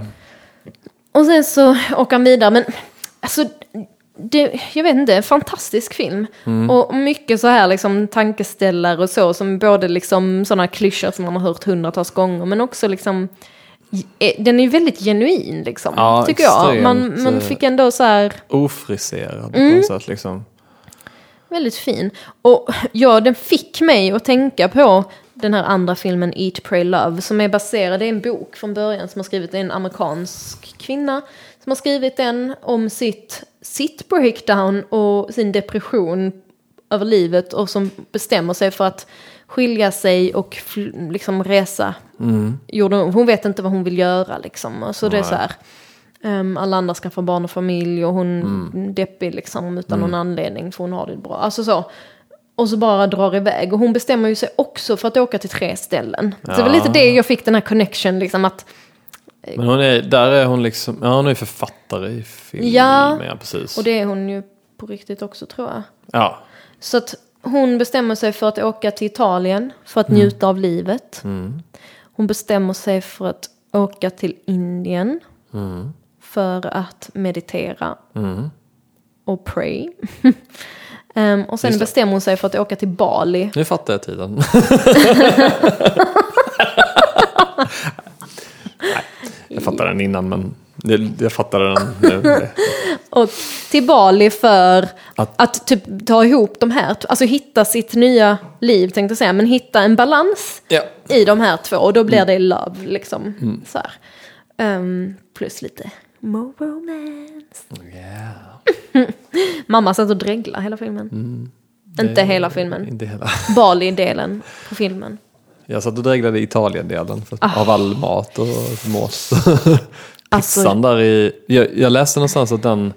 S1: Och sen så åker han vidare. Men alltså, det, jag vet inte, en fantastisk film.
S2: Mm.
S1: Och mycket så här liksom tankeställare och så. Som både liksom sådana klyschor som man har hört hundratals gånger. Men också liksom, eh, den är ju väldigt genuin liksom.
S2: Ja,
S1: tycker jag. Man,
S2: extremt,
S1: man
S2: eh,
S1: fick ändå så här
S2: Ofriserad
S1: Mm.
S2: på något sätt liksom.
S1: väldigt fin. Och ja, den fick mig att tänka på den här andra filmen Eat, Pray, Love. Som är baserad, det är en bok från början som har skrivit, det är en amerikansk kvinna. Som har skrivit den om sitt, sitt breakdown och sin depression över livet. Och som bestämmer sig för att skilja sig och fl- liksom resa. Gjorde hon, hon vet inte vad hon vill göra liksom. Och så det är så här. Ehm, alla andra skaffar barn och familj och hon är deppig liksom utan någon anledning för hon har det bra. Alltså så. Och så bara drar iväg. Och hon bestämmer ju sig också för att åka till tre ställen. Så det var
S2: Ja.
S1: lite det jag fick den här connection liksom att
S2: Men hon är, där är hon liksom, ja hon är författare i filmen.
S1: Ja.
S2: Ja, precis.
S1: och det är hon ju på riktigt också tror jag.
S2: Ja.
S1: Så att hon bestämmer sig för att åka till Italien för
S2: Mm.
S1: att njuta av livet. Hon bestämmer sig för att åka till Indien
S2: Mm.
S1: för att meditera och pray. [LAUGHS] Ehm, och sen
S2: Just det.
S1: bestämmer hon sig för att åka till Bali.
S2: Nu fattar jag tiden. [LAUGHS] jag fattade den innan men jag, jag fattade den nu.
S1: Och till Bali för att,
S2: Att-
S1: typ ta ihop de här, alltså hitta sitt nya liv tänkte jag säga, men hitta en balans
S2: Ja.
S1: i de här två och då blir
S2: Mm.
S1: det love liksom. Så här. Ehm, plus lite more romance. Mamma satt och dreglade hela filmen.
S2: Mm.
S1: Inte hela filmen,
S2: Inte hela.
S1: Bali-delen på filmen.
S2: Jag satt och dreglade i Italien-delen för, av all mat och mås.
S1: Ah. [LAUGHS] Alltså-
S2: Pizzan där i... Jag, jag läste någonstans att den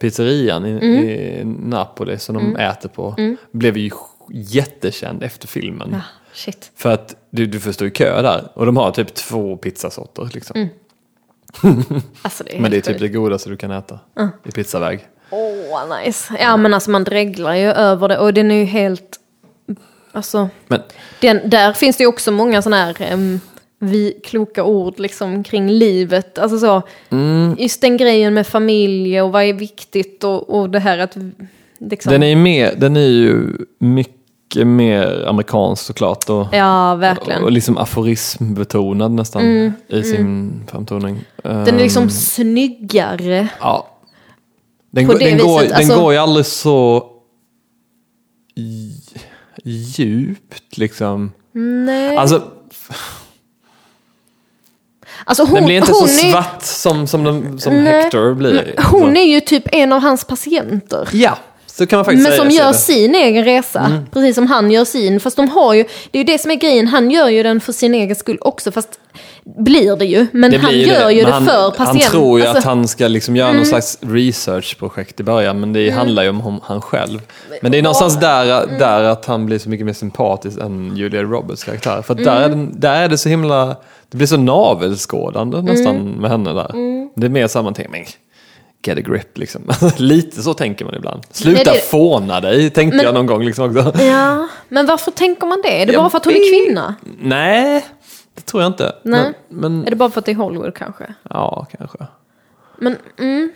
S2: pizzerian i,
S1: Mm.
S2: i Napoli som de äter på blev ju jättekänd efter filmen.
S1: Ah, Shit.
S2: För att du, du förstår ju kö där. Och de har typ två pizzasorter liksom.
S1: Alltså det är
S2: Men det är
S1: Mm. helt
S2: typ
S1: sjukt.
S2: det godaste du kan äta i pizzaväg.
S1: Åh, vad nice. Ja, men alltså man dreglar ju över det och den är ju helt... Alltså,
S2: Men
S1: den, där finns det ju också många sådana här em, vi, kloka ord liksom kring livet. Alltså så,
S2: Mm.
S1: just den grejen med familj och vad är viktigt och, och det här att... vi- Liksom,
S2: den är, ju mer, den är ju mycket mer amerikansk såklart. Och,
S1: ja, verkligen. Mm,
S2: och liksom aforismbetonad nästan i sin framtoning.
S1: Den är
S2: Ehm,
S1: liksom snyggare.
S2: Ja. Den,
S1: På
S2: går-
S1: det
S2: den, går,
S1: viset,
S2: den
S1: alltså-
S2: går ju aldrig så i- djupt liksom.
S1: Nej. Alltså,
S2: Alltså,
S1: Alltså hon,
S2: den blir inte så
S1: hon är-
S2: svart som, som, den, som
S1: Nej.
S2: Hector blir.
S1: Hon är ju typ en av hans patienter.
S2: Ja, så Mm. kan man faktiskt
S1: Men
S2: säga.
S1: som
S2: säga
S1: gör
S2: det.
S1: sin egen resa, precis som han gör sin. Fast de har ju, det är ju det som är grejen, han gör ju den för sin egen skull också. Fast blir det ju, men
S2: Det
S1: han
S2: blir ju
S1: gör
S2: det,
S1: ju
S2: men
S1: det
S2: han,
S1: för patienten.
S2: Han tror ju att
S1: Alltså,
S2: han ska liksom göra någon slags researchprojekt i början, men det
S1: Mm.
S2: handlar ju om hon, han själv. Men det är någonstans där, där att han blir så mycket mer sympatisk än Julia Roberts karaktär. För att där, är
S1: Mm.
S2: den, där är det så himla... Det blir så navelskådande
S1: Mm.
S2: nästan med henne där. Det är mer samma ting. Men, Get a grip liksom. [LAUGHS] Lite så tänker man ibland. Sluta
S1: det är-
S2: fåna dig, tänkte jag någon gång liksom också.
S1: Ja, men varför tänker man det? Är det
S2: Jag
S1: bara för att hon är
S2: vet-
S1: kvinna?
S2: [LAUGHS] Nej, det tror jag inte.
S1: Nej.
S2: Men, men
S1: Är det bara för att det är Hollywood kanske?
S2: ja, kanske.
S1: Men, mm.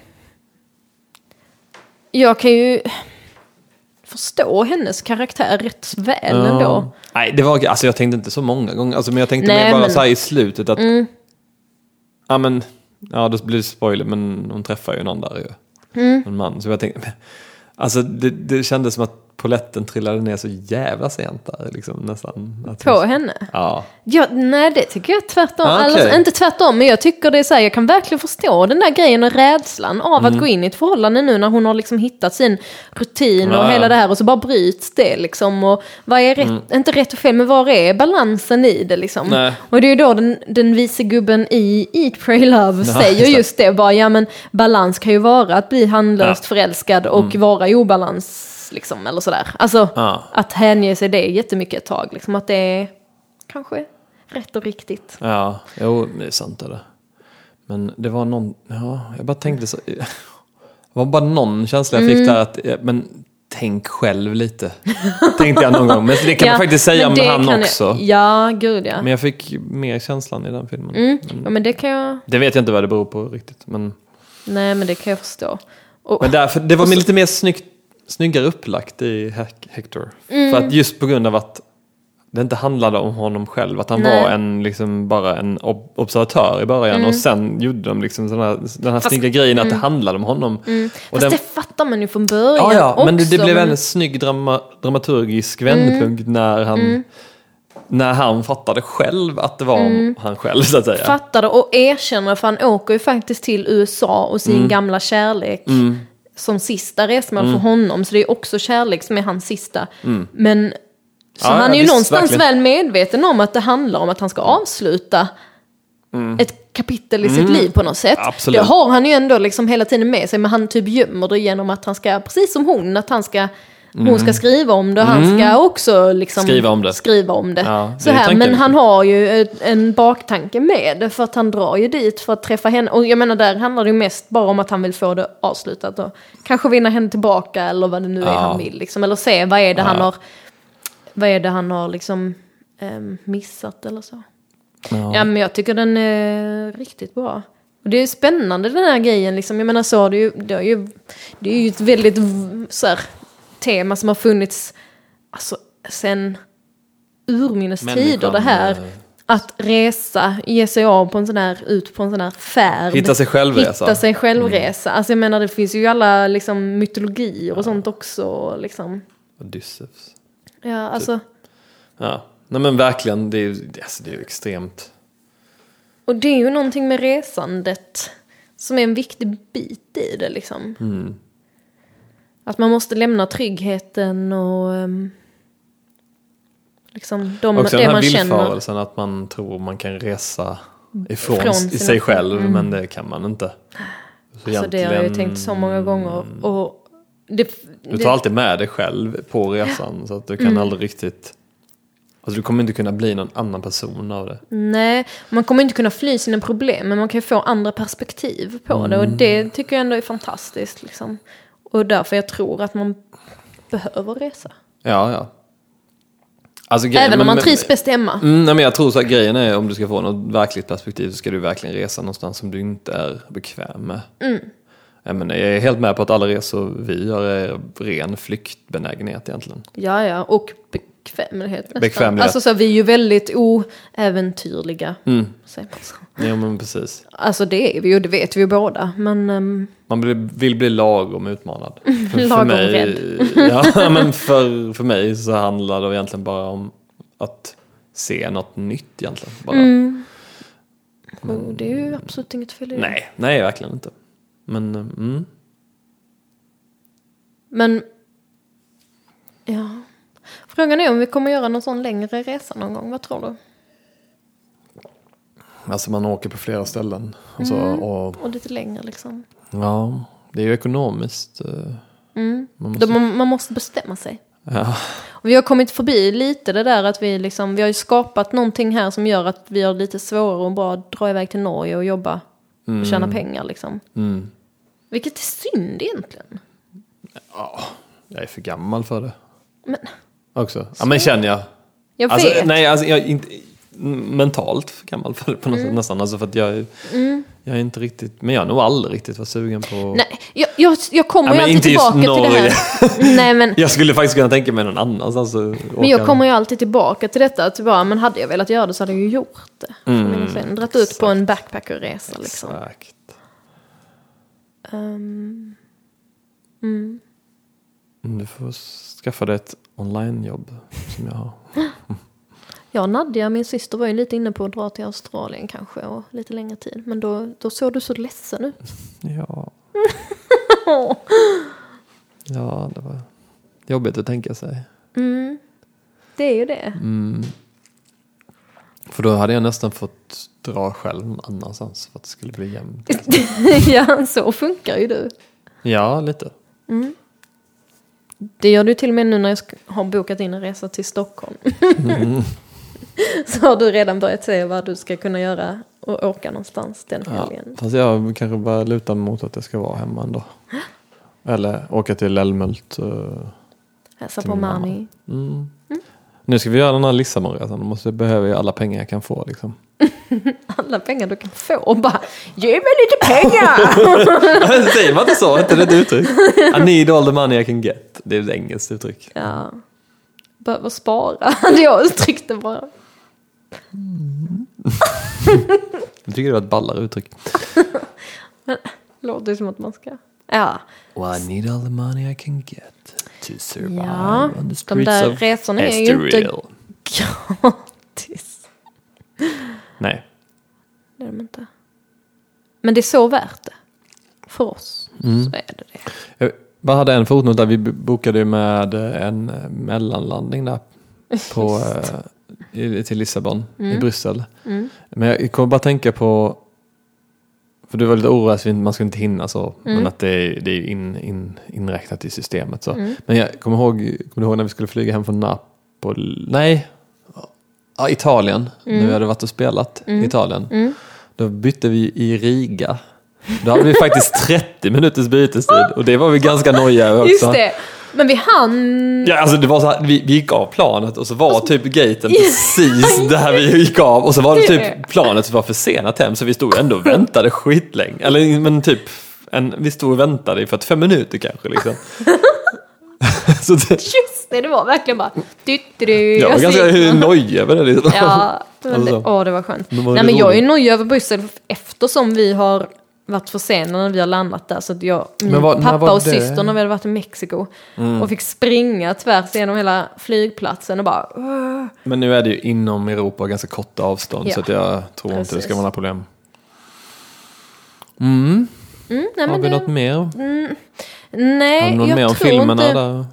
S1: Jag kan ju förstå hennes karaktär rätt väl ändå.
S2: Nej, det var, alltså jag tänkte inte så många gånger, alltså, men jag tänkte
S1: Nej,
S2: mer bara
S1: men- Mm.
S2: så här i slutet att... Ja, men, ja, då blir det spoiler, men hon träffar ju någon där ju.
S1: Mm.
S2: En man. Så jag tänkte, alltså det, det kändes som att poletten trillade ner så jävla sent där. Liksom, nästan. Att
S1: På henne.
S2: Ja.
S1: Ja, nej, det tycker jag är tvärtom.
S2: Ah, okej.
S1: Alltså, inte tvärtom, men jag tycker det är så här, jag kan verkligen förstå den där grejen och rädslan av
S2: Mm.
S1: att gå in i ett förhållande nu när hon har liksom hittat sin rutin och
S2: Ja, ja.
S1: hela det här och så bara bryts det liksom. Och vad är rätt, inte rätt och fel, men var är balansen i det liksom?
S2: Mm. Nej.
S1: Och det är ju då den, den vise gubben i Eat, Pray, Love
S2: Ja,
S1: säger
S2: just det.
S1: just det, bara ja men balans kan ju vara att bli handlöst
S2: Ja. Mm.
S1: förälskad och vara i obalans. Liksom, eller sådär. Alltså,
S2: Ja.
S1: att hänge sig det jättemycket ett tag. Liksom, att det är kanske rätt och riktigt.
S2: Ja, jo, det är sant det. där. Men det var någon, ja, jag bara tänkte så. Det var bara någon känsla jag
S1: Mm.
S2: fick där att, eh, men tänk själv lite. Tänkte jag någon gång. Men det kan
S1: Ja,
S2: man faktiskt säga
S1: men
S2: om
S1: det
S2: han
S1: kan
S2: också.
S1: Jag, ja, gud ja.
S2: Men jag fick mer känslan i den filmen.
S1: Mm. ja. Men det kan jag...
S2: Det vet jag inte vad det beror på riktigt. Men,
S1: Nej, men det kan jag förstå. Och,
S2: men därför, det var lite mer snyggt, snyggare upplagt i Hec- Hector.
S1: Mm.
S2: För att just på grund av att det inte handlade om honom själv. Att han
S1: Nej. Mm.
S2: var en, liksom, bara en ob- observatör i början. Och sen gjorde de liksom den här, den här
S1: Fast- mm.
S2: snygga grejen att det handlade om honom. Och
S1: fast
S2: den,
S1: det fattar man ju från början
S2: ja, ja, men det,
S1: också, Mm.
S2: det blev en snygg drama, dramaturgisk vändpunkt när han När han fattade själv att det var
S1: Mm.
S2: han själv så att säga.
S1: fattade och erkänner för han åker ju faktiskt till USA och sin
S2: Mm.
S1: gamla kärlek som sista resmål för honom. Så det är också kärlek som är hans sista. Men så
S2: Mm. Ja,
S1: han
S2: ja,
S1: är ju
S2: visst,
S1: någonstans
S2: verkligen. Mm.
S1: väl medveten om att det handlar om att han ska avsluta ett kapitel i sitt liv på något sätt.
S2: Absolut.
S1: Det har han ju ändå liksom hela tiden med sig men han typ gömmer det genom att han ska, precis som hon, att han ska Hon ska skriva om det och han ska också liksom
S2: Mm. Skriva om det.
S1: Skriva om det.
S2: Ja,
S1: så
S2: det är
S1: här,
S2: tanken.
S1: men han har ju ett- en baktanke med det för att han drar ju dit för att träffa henne. Och jag menar där handlar det ju mest bara om att han vill få det avslutat och kanske vinna henne tillbaka eller vad det nu är
S2: Ja.
S1: han vill. Liksom. Eller se vad är det han
S2: Ja.
S1: har, vad är det han har liksom, ehm, missat eller så. Ja. men jag tycker den är riktigt bra. Och det är ju spännande den här grejen liksom. Jag menar så har det ju, det är ju, det är ju ett väldigt v- så här, tema som har funnits alltså, sen urminnes tider
S2: Människan,
S1: det här.
S2: eh,
S1: Att resa, ge sig av på en sån här, ut på en sån här färd.
S2: Hitta sig Mm. själv-resa.
S1: Hitta sig självresa. Alltså jag menar det finns ju alla liksom, mytologier och sånt också. Liksom.
S2: Odysseus.
S1: Ja,
S2: Typ.
S1: alltså,
S2: Ja, nej men verkligen. Det är ju, alltså, det är ju extremt.
S1: och det är ju någonting med resandet som är en viktig bit i det liksom.
S2: Mm.
S1: Att man måste lämna tryggheten och ehm, liksom de,
S2: Också
S1: det
S2: den här
S1: man känner.
S2: villfarelsen att man tror man kan resa ifrån
S1: Från
S2: s- i
S1: sina- Mm.
S2: sig själv, men det kan man inte. Så
S1: Alltså, det har jag ju
S2: egentligen,
S1: tänkt så många gånger. Och det,
S2: Du
S1: det- Mm.
S2: tar alltid med dig själv på resan, så att du kan aldrig riktigt... Alltså du kommer inte kunna bli någon annan person av det.
S1: Nej, man kommer inte kunna fly sina problem men man kan ju få andra perspektiv på det och
S2: Mm.
S1: det tycker jag ändå är fantastiskt. Liksom. Och därför jag tror att man behöver resa.
S2: Ja, ja. Alltså, grejen-
S1: Även om man
S2: men-
S1: trivs bäst hemma.
S2: Mm, nej, men jag tror så att grejen är om du ska få något verkligt perspektiv så ska du verkligen resa någonstans som du inte är bekväm med.
S1: Mm.
S2: Jag, menar, jag är helt med på att alla resor vi gör är ren flyktbenägenhet egentligen.
S1: Ja, ja, och bekvämlighet nästan.
S2: Bekvämlighet.
S1: Alltså så, vi är ju väldigt oäventyrliga. Säger man så.
S2: Mm. Ja, men precis.
S1: Alltså det är vi ju, det vet vi ju båda. Men ehm,
S2: Man blir, vill bli
S1: [LAUGHS]
S2: lagom utmanad. För,
S1: Lagom
S2: [LAUGHS] ja, men för, för mig så handlar det egentligen bara om att se något nytt egentligen. Bara.
S1: Mm. oh, det är ju absolut inget fel i det.
S2: Nej, nej verkligen inte. Men mm.
S1: Men, ja. Frågan är om vi kommer göra någon sån längre resa någon gång, vad tror du?
S2: alltså man åker på flera ställen. Och så,
S1: Mm.
S2: och
S1: Och lite längre liksom.
S2: Ja, det är ju ekonomiskt. eh, Man
S1: Mm. Då man, man måste bestämma sig.
S2: Ja,
S1: Och vi har kommit förbi lite det där att vi liksom, vi har ju skapat någonting här som gör att vi har lite svårare att bara dra iväg till Norge och jobba och tjäna pengar liksom.
S2: mm.
S1: Vilket är synd egentligen.
S2: Jag är för gammal för det
S1: Men
S2: också. Ja, men känner jag.
S1: jag
S2: alltså,
S1: vet.
S2: Nej, alltså, jag är inte mentalt för gammal för det på något sätt
S1: Mm.
S2: nästan. Alltså, för att jag, är- jag är inte riktigt, men jag har nog aldrig riktigt varit sugen på...
S1: Nej, jag, jag, jag kommer
S2: Ja,
S1: ju
S2: men
S1: alltid
S2: inte just
S1: tillbaka till det här. [LAUGHS] Nej, men,
S2: Jag skulle faktiskt kunna tänka mig någon annanstans. Alltså,
S1: men jag kommer ju alltid tillbaka till detta. Att bara, men hade jag velat göra det så hade jag ju gjort det. för länge sedan. Dratt ut på en backpackerresa liksom.
S2: Mm.
S1: Ehm,
S2: Exakt. Mm, Du får skaffa dig ett onlinejobb som
S1: [LAUGHS]
S2: jag har.
S1: Jag och Nadja, min syster, var ju lite inne på att dra till Australien kanske. Och lite längre tid. Men då, då såg du så ledsen ut.
S2: [LAUGHS]
S1: [LAUGHS]
S2: Ja. ja, det var jobbigt att tänka sig.
S1: Mm. Det är ju det.
S2: För då hade jag nästan fått dra själv någon annanstans för att det skulle bli jämnt.
S1: [LAUGHS] ja, så funkar ju du.
S2: Ja, lite.
S1: Det gör du till och med nu när jag sk- har bokat in en resa till Stockholm.
S2: Mm.
S1: [LAUGHS] så har du redan börjat se vad du ska kunna göra och åka någonstans den
S2: Ja.
S1: helgen.
S2: Fast jag kanske bara lutar mot att jag ska vara
S1: [GASPS]
S2: hemma ändå. Eller åka till Älmhult. eh.
S1: Hälsa
S2: Till
S1: på
S2: min mamma.
S1: Mani. Mm.
S2: Nu ska vi göra den här Lissabonresan. Då måste jag behöver jag alla pengar jag kan få.
S1: [LAUGHS]
S2: Liksom.
S1: Alla pengar du kan få och bara ge mig lite
S2: [LAUGHS]
S1: pengar!
S2: Säger man inte så? inte det ett [LAUGHS] uttryck? I need all the money I can get. Det är ett engelskt uttryck.
S1: ja. Behöver spara, [LAUGHS] hade jag uttryckt det bara.
S2: Jag tycker det var ett ballare uttryck.
S1: Låter ju som att man ska... Ja,
S2: Well, I need all the money I can get to survive
S1: Ja,
S2: on the
S1: de
S2: streets
S1: där
S2: of
S1: resorna är ju
S2: Estoril.
S1: inte [LAUGHS] gratis.
S2: Nej.
S1: Det är de inte. Men det är så värt det. För oss
S2: Mm.
S1: så är det det.
S2: Jag bara hade en fotnot där vi b- bokade ju med eh, en eh, mellanlandning där på, eh, i- till Lissabon i Bryssel. Men jag kommer bara tänka på, för du var lite orolig att vi inte- man skulle inte hinna så,
S1: Mm.
S2: men att det är, det är in, in, inräknat i systemet. Så.
S1: Mm.
S2: Men jag kommer ihåg, kommer du ihåg när vi skulle flyga hem från Napoli? Nej, ja, Italien,
S1: Mm.
S2: när vi hade varit och spelat i Italien. Då bytte vi i Riga. Då hade vi
S1: [LAUGHS]
S2: faktiskt 30 minuters bytestid och det var vi ganska nojiga över också.
S1: Just det. Men vi hann...
S2: Ja, alltså det var så här, vi, vi gick av planet och så var
S1: Alltså- [LAUGHS]
S2: typ gaten precis där vi gick av och så var det typ planet som var försenat hem så vi stod ändå och väntade skitlänge. Eller men typ, en, vi stod och väntade i 45 minuter kanske liksom. [LAUGHS] så det,
S1: Just det, det var verkligen bara... Du, du, du,
S2: jag var [LAUGHS] ganska nojig över det. Liksom.
S1: Ja, men det,
S2: Alltså.
S1: åh det var skönt.
S2: Men var det
S1: Nej men jag är
S2: roligt?
S1: nöjd över Bryssel eftersom vi har varit försenade när vi har landat där. Så att jag, min
S2: Men vad- när
S1: pappa
S2: var
S1: och
S2: det? Mm.
S1: syster när vi hade varit i Mexiko och fick springa tvärs genom hela flygplatsen och bara... "Åh."
S2: Men nu är det ju inom Europa och ganska korta avstånd
S1: Ja,
S2: så att jag tror inte det
S1: precis.
S2: ska vara några problem.
S1: Mm, nej,
S2: Har
S1: men
S2: vi
S1: det,
S2: något mer? Har
S1: nej,
S2: du något
S1: jag
S2: mer om
S1: tror
S2: filmerna?
S1: inte...
S2: Där?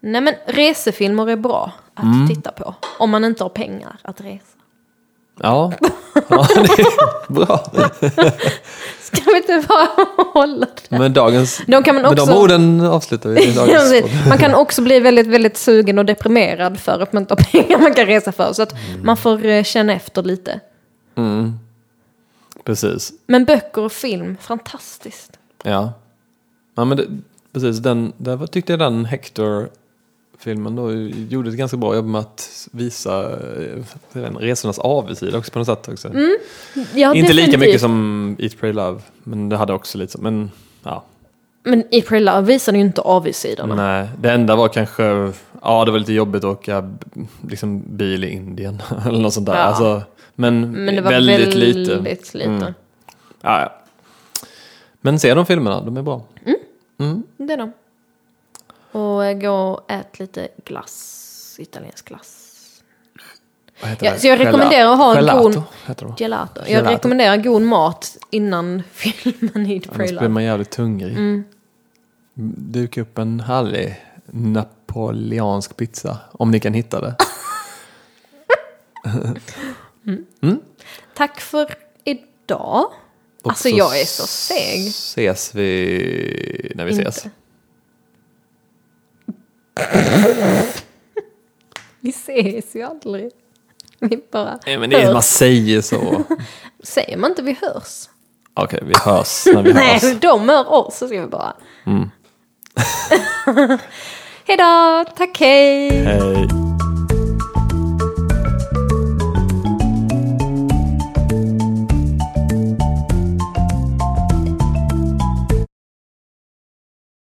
S1: Nej men resefilmer är bra att
S2: Mm.
S1: titta på. Om man inte har pengar att resa.
S2: Ja. ja, det är bra.
S1: [LAUGHS] Ska vi inte bara hålla det?
S2: Men dagens...
S1: De kan man
S2: Med de
S1: också-
S2: orden
S1: [LAUGHS]
S2: avslutar vi dagens podd.
S1: man kan också bli väldigt, väldigt sugen och deprimerad för att man inte har [LAUGHS] pengar man kan resa för. Så att man får eh, känna efter lite.
S2: Mm. Precis.
S1: Men böcker och film, fantastiskt.
S2: Ja. ja men det, precis, den, där var- tyckte jag den Hector-filmen då gjorde ett ganska bra jobb med att visa eh, den resornas avigsida också på något sätt. Också.
S1: Mm, Ja,
S2: Inte lika
S1: definitivt.
S2: mycket som Eat, Pray, Love, men det hade också lite så. Men ja,
S1: Men i Pray Love visar ju inte avigsidorna.
S2: nej. Det enda var kanske, ja det var lite jobbigt att åka b- liksom, bil i Indien [LAUGHS] eller något sånt där.
S1: Ja.
S2: Alltså, men,
S1: Men det var
S2: väldigt,
S1: väldigt,
S2: lite.
S1: lite.
S2: Mm. Ja, ja. Men se de filmerna, de är bra. Mm.
S1: Det är de. Och eh, gå och ät lite glass, italiensk glass.
S2: Vad heter
S1: Ja,
S2: det?
S1: så jag
S2: Gela-
S1: rekommenderar att ha en
S2: gelato,
S1: god-
S2: heter det. va?
S1: Gelato. Jag
S2: Gelato.
S1: rekommenderar god mat innan [LAUGHS] filmen i Pray
S2: Annars blir
S1: Love.
S2: man jävligt tungrig.
S1: Mm.
S2: Duka upp en härlig napoleansk pizza, om ni kan hitta det.
S1: Tack för idag. [LAUGHS]
S2: Och
S1: Alltså, jag är så seg.
S2: ses vi när vi ses.
S1: Inte. Vi ses ju aldrig. Vi bara
S2: Nej, men det är, man
S1: hörs.
S2: säger
S1: [LAUGHS]
S2: så.
S1: Säger man inte vi hörs?
S2: Okej, vi hörs när vi
S1: [LAUGHS]
S2: hörs. Mm.
S1: Nej, de hör oss så ska vi [LAUGHS] bara... Hejdå, tack hej!
S2: Hej.